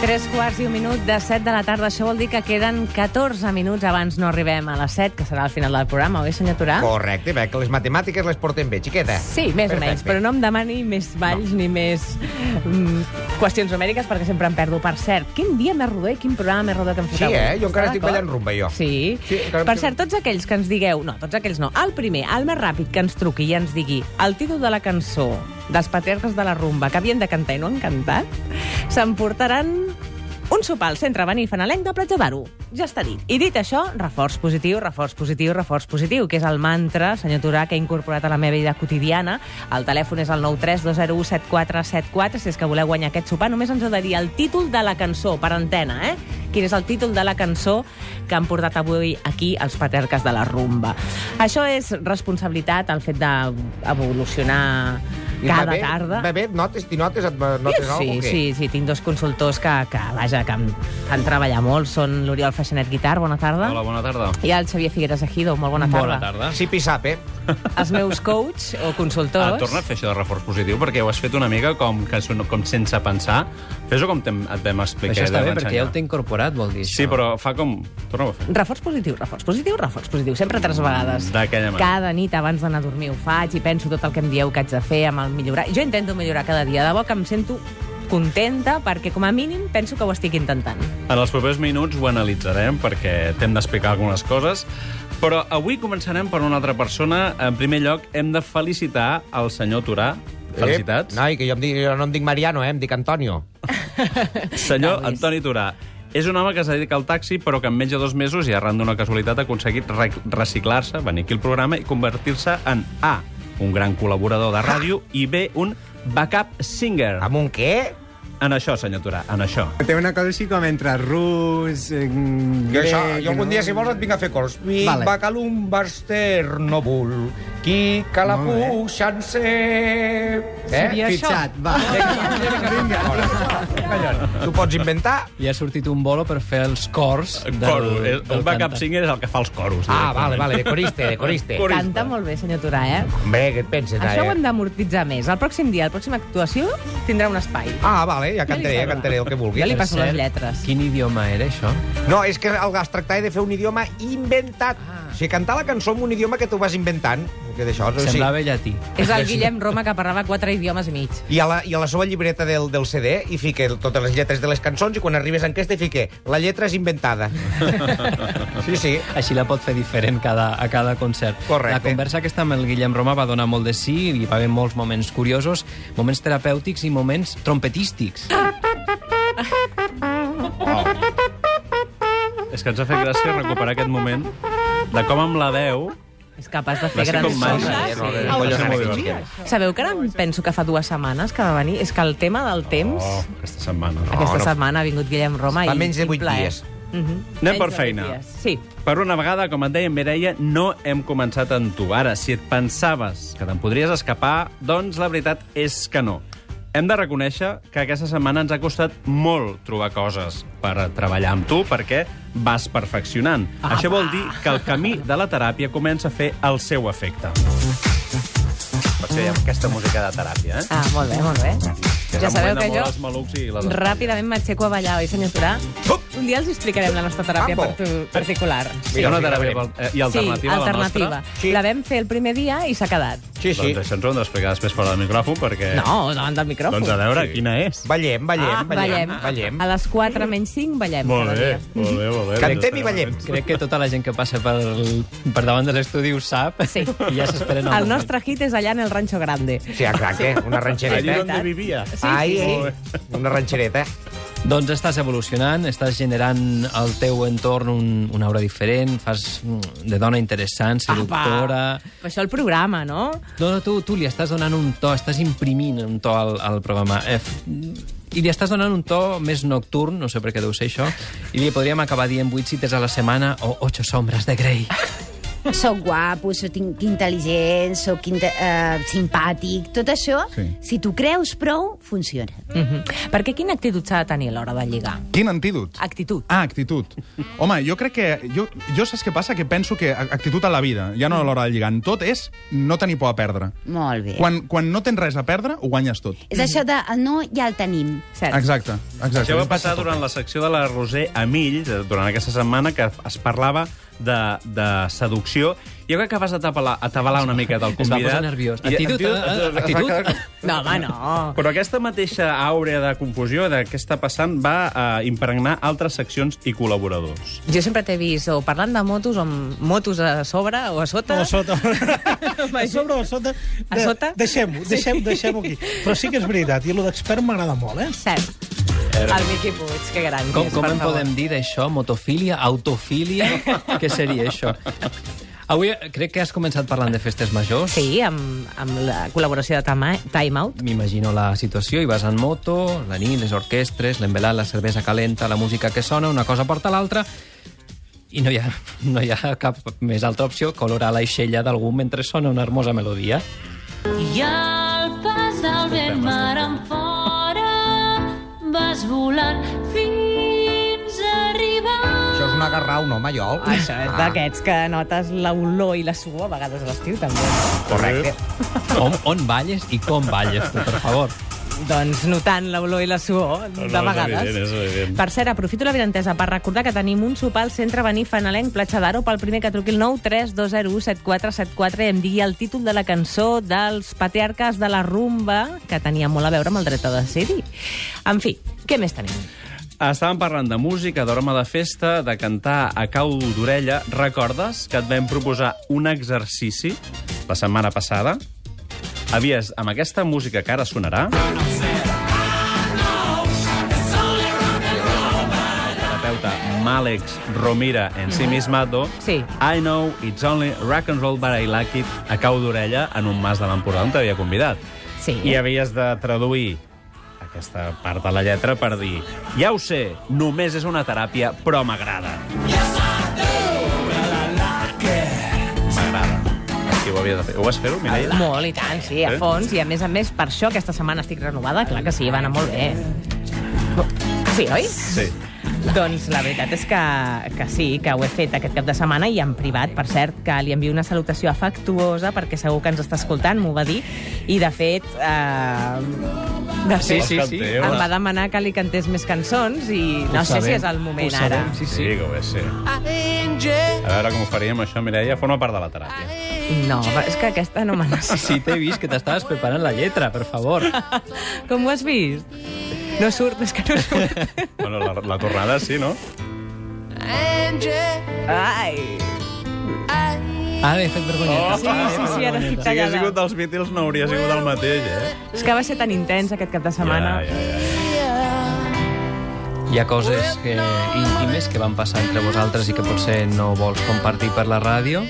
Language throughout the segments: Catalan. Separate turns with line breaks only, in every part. Tres quarts i un minut de 7 de la tarda. Això vol dir que queden 14 minuts abans no arribem a les 7, que serà el final del programa, oi, senyor Turà?
Correcte, perquè les matemàtiques les portem bé, xiqueta.
Ah? Sí, més o
Perfecte.
menys, però no em demani més balls ni més mm, qüestions numèriques perquè sempre em perdo. Per cert, quin dia més rodó i quin programa més rodó que hem fet
Sí,
avui.
eh? Jo
Està
encara estic
d'acord?
ballant rumba, jo.
Sí.
Sí, encara em
per
quedo-
cert, tots aquells que ens digueu... No, tots aquells no. El primer, el més ràpid que ens truqui i ens digui el títol de la cançó dels patriarques de la rumba que havien de cantar i no han cantat, s'emportaran un sopar al centre Benifanalenc de Platja d'Aro. Ja està dit. I dit això, reforç positiu, reforç positiu, reforç positiu, que és el mantra, senyor Turà, que he incorporat a la meva vida quotidiana. El telèfon és el 932017474, si és que voleu guanyar aquest sopar. Només ens heu de dir el títol de la cançó, per antena, eh? Quin és el títol de la cançó que han portat avui aquí els patriarques de la rumba. Això és responsabilitat, el fet d'evolucionar
I va
cada
bé,
tarda.
Va bé, notes, t'hi notes, et notes alguna cosa?
Sí, sí, sí, tinc dos consultors que, que vaja, que em fan treballar molt. Són l'Oriol Feixanet Guitar, bona tarda.
Hola, bona tarda.
I el Xavier Figueres Ejido, molt bona tarda.
Bona tarda.
Sí, pisap, eh?
Els meus coach o
Ah,
consultors...
torna a fer això de reforç positiu, perquè ho has fet una mica com, que, son- com sense pensar. Fes-ho com tem, et vam explicar.
Això està
i
bé,
vam
perquè ja ho
ensenyar.
té incorporat, vol dir,
Sí,
això.
però fa com... Torna-ho a fer.
Reforç positiu, reforç positiu, reforç positiu. Sempre tres vegades.
D'aquella manera.
Cada nit abans d'anar a dormir ho faig i penso tot el que em dieu que haig de fer amb el millorar. Jo intento millorar cada dia. De bo que em sento contenta perquè com a mínim penso que ho estic intentant.
En els propers minuts ho analitzarem, perquè t'hem d'explicar algunes coses. Però avui començarem per una altra persona. En primer lloc, hem de felicitar el senyor Turà. Felicitats.
Eh, noi, que jo, em dic, jo no em dic Mariano, eh? Em dic Antonio.
Senyor
Carles.
Antoni Turà, és un home que s'ha dedicat al taxi, però que en menys de dos mesos i arran d'una casualitat ha aconseguit re- reciclar-se, venir aquí al programa i convertir-se en A, un gran col·laborador de ràdio, i B, un backup singer.
Amb un què?
En això, senyor Turà, en això.
Té una cosa així com entre rus... Eh,
Jo,
grec,
això, jo algun dia,
no?
si vols, et vinc a fer cors. Vinc,
Vale.
bacalum, baster, no bull. Qui que la
Molt bé.
puc, xance... Eh?
Seria- I això?
Fitxat, va.
Tu pots inventar?
Hi ha sortit un bolo per fer els cors del,
Coro.
del
és- Un backup
cantant.
singer és el que fa els coros.
Ah,
directament.
vale, vale, de coriste, de coriste.
Corista.
Canta molt bé, senyor Turà, eh?
Bé, què et penses?
Això
eh?
ho hem d'amortitzar més. El pròxim dia, la pròxima actuació, tindrà un espai.
Ah, vale, ja cantaré, ja
sembla.
cantaré el que vulguis.
Jo li
Per
passo les
cert,
lletres.
Quin idioma era, això?
No, és que el es tractava de fer un idioma inventat. Ah. O sigui, cantar la cançó en un idioma que tu vas inventant. Que d'això, o sigui,
Semblava llatí.
És el Guillem Roma que parlava quatre idiomes i mig.
I a, la, I a la seva llibreta del, del CD hi fica totes les lletres de les cançons i quan arribes a aquesta hi fica la lletra és inventada. sí, sí.
Així la pot fer diferent cada, a cada concert.
Correcte.
La conversa aquesta amb el Guillem Roma va donar molt de sí, hi va haver molts moments curiosos, moments terapèutics i moments trompetístics.
Ah.
És que ens ha fet gràcia recuperar aquest moment de com amb la veu...
És capaç de fer
Va ser
grans
com eh, màgia,
coses.
no?
Sí.
Ah,
Va
Collons,
ser molt
aquests
divertit.
Sabeu que ara em penso que fa dues setmanes que va venir? És que el tema del temps...
Oh, aquesta setmana.
Aquesta
no.
setmana ha vingut Guillem Roma
Fa
i...
menys
i
de vuit
plaer.
dies.
Mhm.
Anem
Menys
per
de vuit
feina.
dies. Sí.
Per una vegada, com et deia Mireia, no hem començat amb tu. Ara, si et pensaves que te'n podries escapar, doncs la veritat és que no. Hem de reconèixer que aquesta setmana ens ha costat molt trobar coses per treballar amb tu, perquè vas perfeccionant.
Ah,
Apa. Això vol dir que el camí de la teràpia comença a fer el seu efecte. Per això hi ha aquesta música de teràpia, eh?
Ah, molt bé, molt bé.
és
Ja
el
sabeu
moment de
que
moure
jo
els malucs i les-
ràpidament m'aixeco a ballar, oi, senyor Turà? Un dia els explicarem la nostra teràpia
Mambo.
partu- particular.
Hi ha una teràpia
Mira,
eh, i alternativa,
sí, alternativa.
a la nostra.
Sí.
La vam fer el primer dia i s'ha quedat.
Sí, sí.
Doncs això ens ho hem d'explicar després fora del micròfon, perquè...
No, davant del micròfon.
Eh. Doncs a veure, quina és?
Ballem, ballem,
Ah,
ballem,
ballem.
ballem.
A les 4 menys 5 ballem.
Molt
cada
bé,
dia.
molt bé, molt bé.
Cantem i ballem.
Crec que tota la gent que passa per, per davant de l'estudi ho sap.
Sí.
I ja s'esperen al
El nostre hit és allà en el Rancho Grande.
Sí, exacte, una
Allí
ranxereta.
on vivia.
Sí,
Ai,
sí, sí.
ai, una ranxereta.
Doncs estàs evolucionant, estàs generant al teu entorn un, una aura diferent, fas mm, de dona interessant, seductora...
Però això el programa, no?
No, no, tu, tu li estàs donant un to, estàs imprimint un to al, al programa. Eh, f- I li estàs donant un to més nocturn, no sé per què deu ser això, i li podríem acabar dient 8 cites a la setmana o 8 sombras de Grey.
Soc guapo, soc in- intel·ligent, soc inte eh, simpàtic... Tot això,
Sí.
si tu creus prou, funciona.
Mm -hmm. Perquè quina actitud s'ha de tenir a l'hora de lligar?
Quin antídot?
Actitud.
Ah, actitud. Home, jo crec que... Jo, jo saps què passa? Que penso que a- actitud a la vida, ja no a l'hora de lligar. En Tot és no tenir por a perdre.
Molt bé.
Quan, quan no tens res a perdre, ho guanyes tot.
És això de el no ja el tenim.
Cert.
Exacte, exacte.
Això va passar durant la secció de la Roser Amill, eh, durant aquesta setmana, que es parlava de, de seducció. Jo crec que vas atabalar, atabalar una miqueta el
Es va
convidat.
posar nerviós. Actitud, eh? actitud.
No, home, no.
Però aquesta mateixa àurea de confusió de què està passant va eh, impregnar altres seccions i col·laboradors.
Jo sempre t'he vist o parlant de motos, o amb motos a sobre o a sota.
A sota. a sobre o a sota.
A sota?
Deixem-ho, deixem, deixem-ho aquí. Però sí que és veritat, i allò d'expert m'agrada molt, eh?
Cert. El Miqui Puig, que gran. que
Com,
és,
com
per
en
favor.
podem dir d'això? Motofília? Autofília? Què seria això? Avui eh, crec que has començat parlant de festes majors.
Sí, amb, amb la col·laboració de Tama- Time Out.
M'imagino la situació, i vas en moto, la nit, les orquestres, l'envelat, la cervesa calenta, la música que sona, una cosa porta a l'altra, i no hi, ha, no hi ha cap més altra opció que olorar l'aixella d'algú mentre sona una hermosa melodia.
I al pas del vent mar enfora vas volant fins a arribar
Això és una garrau, no, Maiol?
Això
Ah.
és d'aquests que notes l'olor i la suor a vegades a l'estiu, també.
Correcte.
On, on balles i com balles, tu, per favor.
Doncs notant l'olor i la suor, de vegades.
evident, és evident.
Per cert, aprofito la virentesa per recordar que tenim un sopar al centre Bení Fanalenc, Platja d'Aro, pel primer que truqui el 9 3 2 0 1 7 4 7 4 i em digui el títol de la cançó dels patriarques de la rumba, que tenia molt a veure amb el dret a decidir. En fi, què més tenim?
Estàvem parlant de música, d'horma de festa, de cantar a cau d'orella. Recordes que et vam proposar un exercici la setmana passada? Havies, amb aquesta música que ara sonarà... terapeuta Màlex Romira en si mismato.
Sí.
I know it's only rock and roll but I like it a cau d'orella en un mas de l'Empordà on t'havia convidat.
Sí.
I havies de traduir aquesta part de la lletra per dir ja ho sé, només és una teràpia, però m'agrada. M'agrada. Aquí ho havies de fer. Ho vas fer-ho, Mireia?
Molt, i tant, sí, a
Eh?
fons. I a més a més, per això aquesta setmana estic renovada. Clar que sí, va anar molt bé. Sí, oi?
Sí.
Doncs la veritat és que, que sí, que ho he fet aquest cap de setmana i en privat, per cert, que li envio una salutació afectuosa perquè segur que ens està escoltant, m'ho va dir, i de fet... Eh, de
Sí,
fet,
sí, sí.
em va demanar que li cantés més cançons i no
Ho
sé si
sabem,
és el moment
ho
ara.
sabem, Sí,
Sí,
sí.
que ho és, sí. A veure com ho faríem, això, Mireia. Forma part de la teràpia.
No, però és que aquesta no me la sé.
Sí, t'he vist que t'estaves preparant la lletra, per favor.
Com ho has vist? No surt, és que no surt.
Bueno, la, la tornada sí, no?
Ai...
Ara he Ah, fet vergonyeta.
Sí, sí, sí, ara estic
Si hagués
callada.
sigut dels Beatles no hauria sigut el mateix, eh?
És que va ser tan intens aquest cap de setmana.
Ja, ja, ja.
Hi ha coses que, íntimes que van passar entre vosaltres i que potser no vols compartir per la ràdio.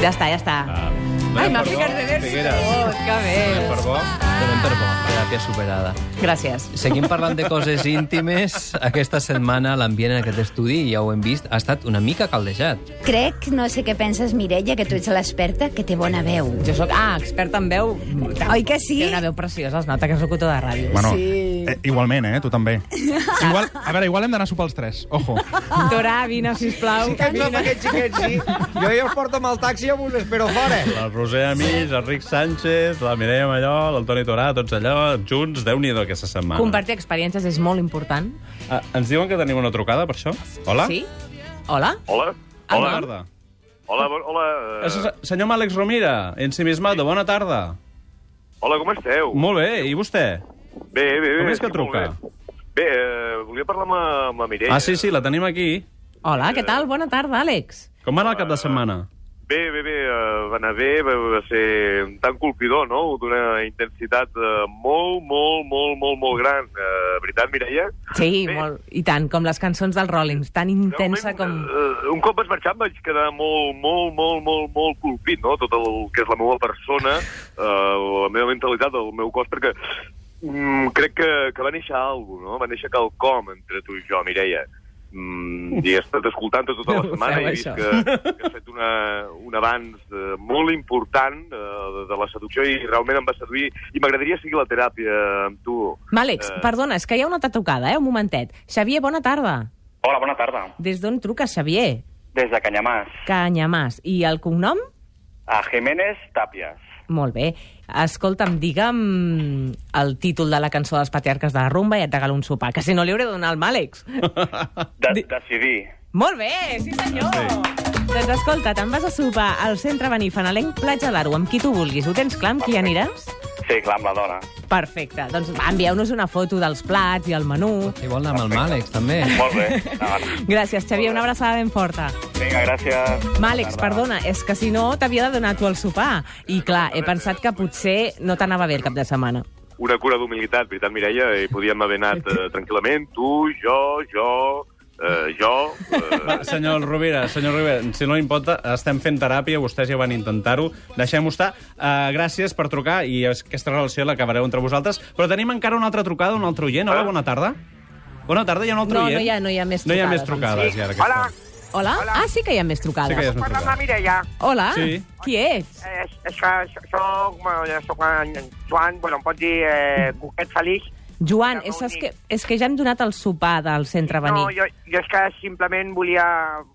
Ja està, ja està.
Ah.
Ai,
Donem
m'ha
per bo,
ficat de vers.
Figueres.
Oh, que
Donem Per
bé.
bo.
Donem per bo, teràpia superada.
Gràcies.
Seguim parlant de coses íntimes. Aquesta setmana l'ambient en aquest estudi, ja ho hem vist, ha estat una mica caldejat.
Crec, no sé què penses, Mireia, que tu ets l'experta, que té bona veu.
Jo sóc, ah, experta en veu.
Oi que sí?
Té una veu preciosa, es nota que és locutor de ràdio.
Bueno,
Sí.
eh, igualment, eh? Tu també. Igual, a veure, igual hem d'anar a sopar els tres. Ojo.
Ah. Dora, vine, sisplau.
Sí que ens amb aquest xiquet, sí. Jo ja els porto amb el taxi i vos espero fora.
La Roser Amís, Enric Sánchez, la Mireia Mallol, el Toni Torà, tots allò, junts, déu nhi aquesta setmana.
Compartir experiències és molt important.
Ah, ens diuen que tenim una trucada, per això? Hola?
Sí? Hola?
Hola.
Bona
Hola.
tarda.
Hola, bo- hola. eh,
Uh... Senyor Màlex Romira, ensimismado, bona tarda.
hola, com esteu?
Molt bé, i vostè?
Bé, bé, bé.
Com és que
estic molt
truca?
Bé, bé eh, volia parlar amb, la- amb la Mireia.
Ah, sí, sí, la tenim aquí.
Hola, què tal? Bona tarda, Àlex.
Com va anar el cap de setmana?
Bé, bé, bé, eh, va anar bé, va, va ser tan colpidor, no? D'una intensitat eh, molt, molt, molt, molt, molt gran. Eh, veritat, Mireia?
Sí,
Bé.
molt. I tant, com les cançons dels Rollings, tan intensa
Realment,
com...
eh, un cop vaig marxar em vaig quedar molt, molt, molt, molt, molt colpit, no? Tot el que és la meva persona, eh, la meva mentalitat, el meu cos, perquè mm, crec que, que va néixer alguna no? Va néixer quelcom entre tu i jo, Mireia. Mm, I he estat escoltant-te tota la
No ho
setmana
feu,
i he vist
això.
que, que has fet una, un avanç eh, molt important eh, de, de la seducció i realment em va seduir i m'agradaria seguir la teràpia amb tu.
Màlex,
Eh,
perdona, és que hi ha una altra trucada, eh? Un momentet. Xavier, bona tarda.
Hola, bona tarda.
Des d'on truques, Xavier?
Des de Canyamàs,
Canyamàs. I el cognom?
a Jiménez Tàpies.
Molt bé. Escolta'm, digue'm el títol de la cançó dels patriarques de la rumba i et regalo un sopar, que si no li hauré de donar al Màlex.
De Decidir.
Molt bé, sí senyor! Doncs escolta, te'n vas a sopar al centre Benifanalenc Platja d'Aro, amb qui tu vulguis. Ho tens clar amb qui aniràs?
Sí, clar, amb la dona.
Perfecte. Doncs va, envieu-nos una foto dels plats i el menú.
Si vol anar amb el Màlex, també.
Molt bé.
Gràcies, Xavier. Una abraçada ben forta.
Vinga, gràcies.
Màlex, perdona, és que si no t'havia de donar tu el sopar. I clar, he pensat que potser no t'anava bé el cap de setmana.
Una cura d'humilitat, veritat, Mireia, i podíem haver anat eh, tranquil·lament, tu, jo, jo, eh, jo...
Doncs
Eh,
Senyor Rovira, senyor Rovira, si no li importa, estem fent teràpia, vostès ja van intentar-ho, deixem-ho estar. Uh, gràcies per trucar i aquesta relació l'acabareu entre vosaltres. Però tenim encara una altra trucada, un altre oient. Hola, bona tarda. Bona tarda, hi ha un altre
No,
oient.
no hi ha, no hi ha més
No hi ha
trucades,
més trucades,
doncs.
ja, ara,
Hola.
aquesta.
Hola? Hola? Ah, sí que hi ha més trucades.
Sí que hi ha més
Parla amb la Mireia.
Hola,
Sí.
qui ets?
Eh, és que soc, bueno, soc en Joan, bueno, em pot dir eh, Cuquet Feliç.
Joan, és, és, que, és que ja hem donat el sopar del centre
No,
Bení.
jo, jo és que simplement volia,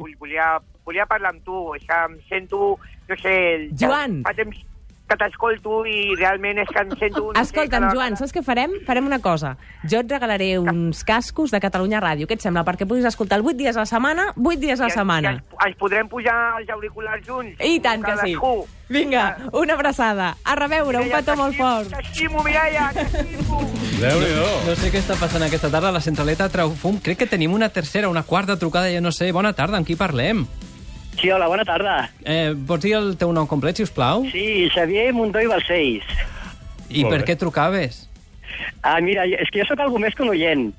vull- volia, volia parlar amb tu. És que em sento, no sé... ja
Joan!
Fa temps que t'escolto i realment és que em sento... No
Escolta'm, Joan, saps què farem? Farem una cosa. Jo et regalaré uns cascos de Catalunya Ràdio. Què et sembla? Perquè puguis escoltar el 8 dies a la setmana, 8 dies a la setmana.
Ens, ens podrem pujar els auriculars junts?
I tant que sí.
Cadascú.
Vinga, una abraçada. A reveure, un petó molt fort.
T'estimo, Mireia, t'estimo.
déu nhi
No sé què està passant aquesta tarda a la centraleta trau fum. Crec que tenim una tercera, una quarta trucada, ja no sé. Bona tarda, amb qui parlem?
Sí, hola, bona tarda.
Eh, pots dir el teu nom complet, si us plau?
Sí, Xavier Montoy Balcells.
I
Molt
per
bé.
què trucaves?
Ah, mira, és que jo sóc algú més que un oient.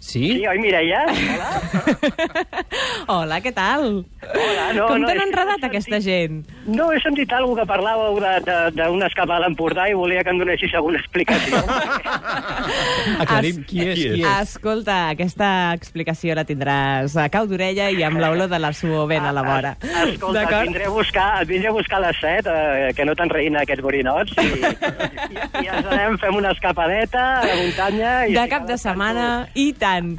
Sí?
Sí, oi, Mireia?
Hola, què tal? Hola,
no,
Com
no,
t'han
és que
enredat aquesta gent?
No, he sentit algú que parlàveu de- de- d'una escapada a l'Empordà i volia que em donessis alguna explicació.
Aclarim qui és, qui és.
Escolta, aquesta explicació la tindràs a cau d'orella i amb l'olor de la suor ben a la vora.
Escolta, et vindré, a buscar, et vindré a buscar a les 7, eh, que no t'enreïn aquests borinots, i, i, i ens anem, fem una escapadeta a la muntanya... I
De cap de setmana, i tant.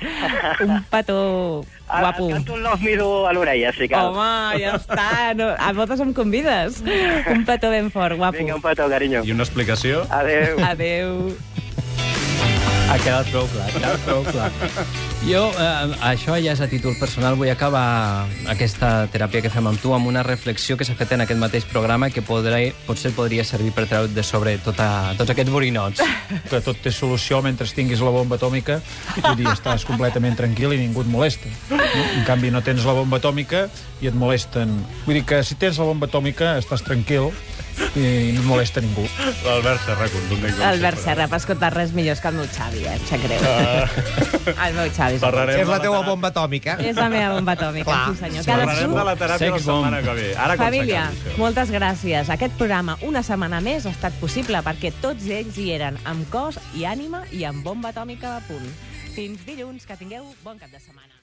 Un petó guapo.
Et canto Ah, un Love Me Do a l'orella, si cal.
Home, ja està. No, a votes em convides. Un petó ben fort, guapo.
Vinga, un petó, carinyo.
I una explicació?
Adéu.
Adéu.
Ha quedat prou clar, ha quedat prou clar. Jo, eh, això ja és a títol personal, vull acabar aquesta teràpia que fem amb tu amb una reflexió que s'ha fet en aquest mateix programa i que podré, potser podria servir per treure de sobre tota, tots aquests borinots.
que tot té solució mentre tinguis la bomba atòmica vull dir, estàs completament tranquil i ningú et molesta en canvi no tens la bomba atòmica i et molesten vull dir que si tens la bomba atòmica estàs tranquil i no et molesta ningú
L'Albert Serra, contundent. com
Albert
sempre.
Serra, per escoltar res millors que el meu Xavi, eh? em sap greu.
Ah.
El meu Xavi. és el
Parlarem
meu.
És la teua bomba atòmica.
És la meva bomba atòmica, sí senyor.
Parlarem de la teràpia la
Sex bomb.
setmana que ve. Ara quan
Família,
s'acabi.
moltes gràcies. Aquest programa, una setmana més, ha estat possible perquè tots ells hi eren, amb cos i ànima i amb bomba atòmica a punt. Fins dilluns, que tingueu bon cap de setmana.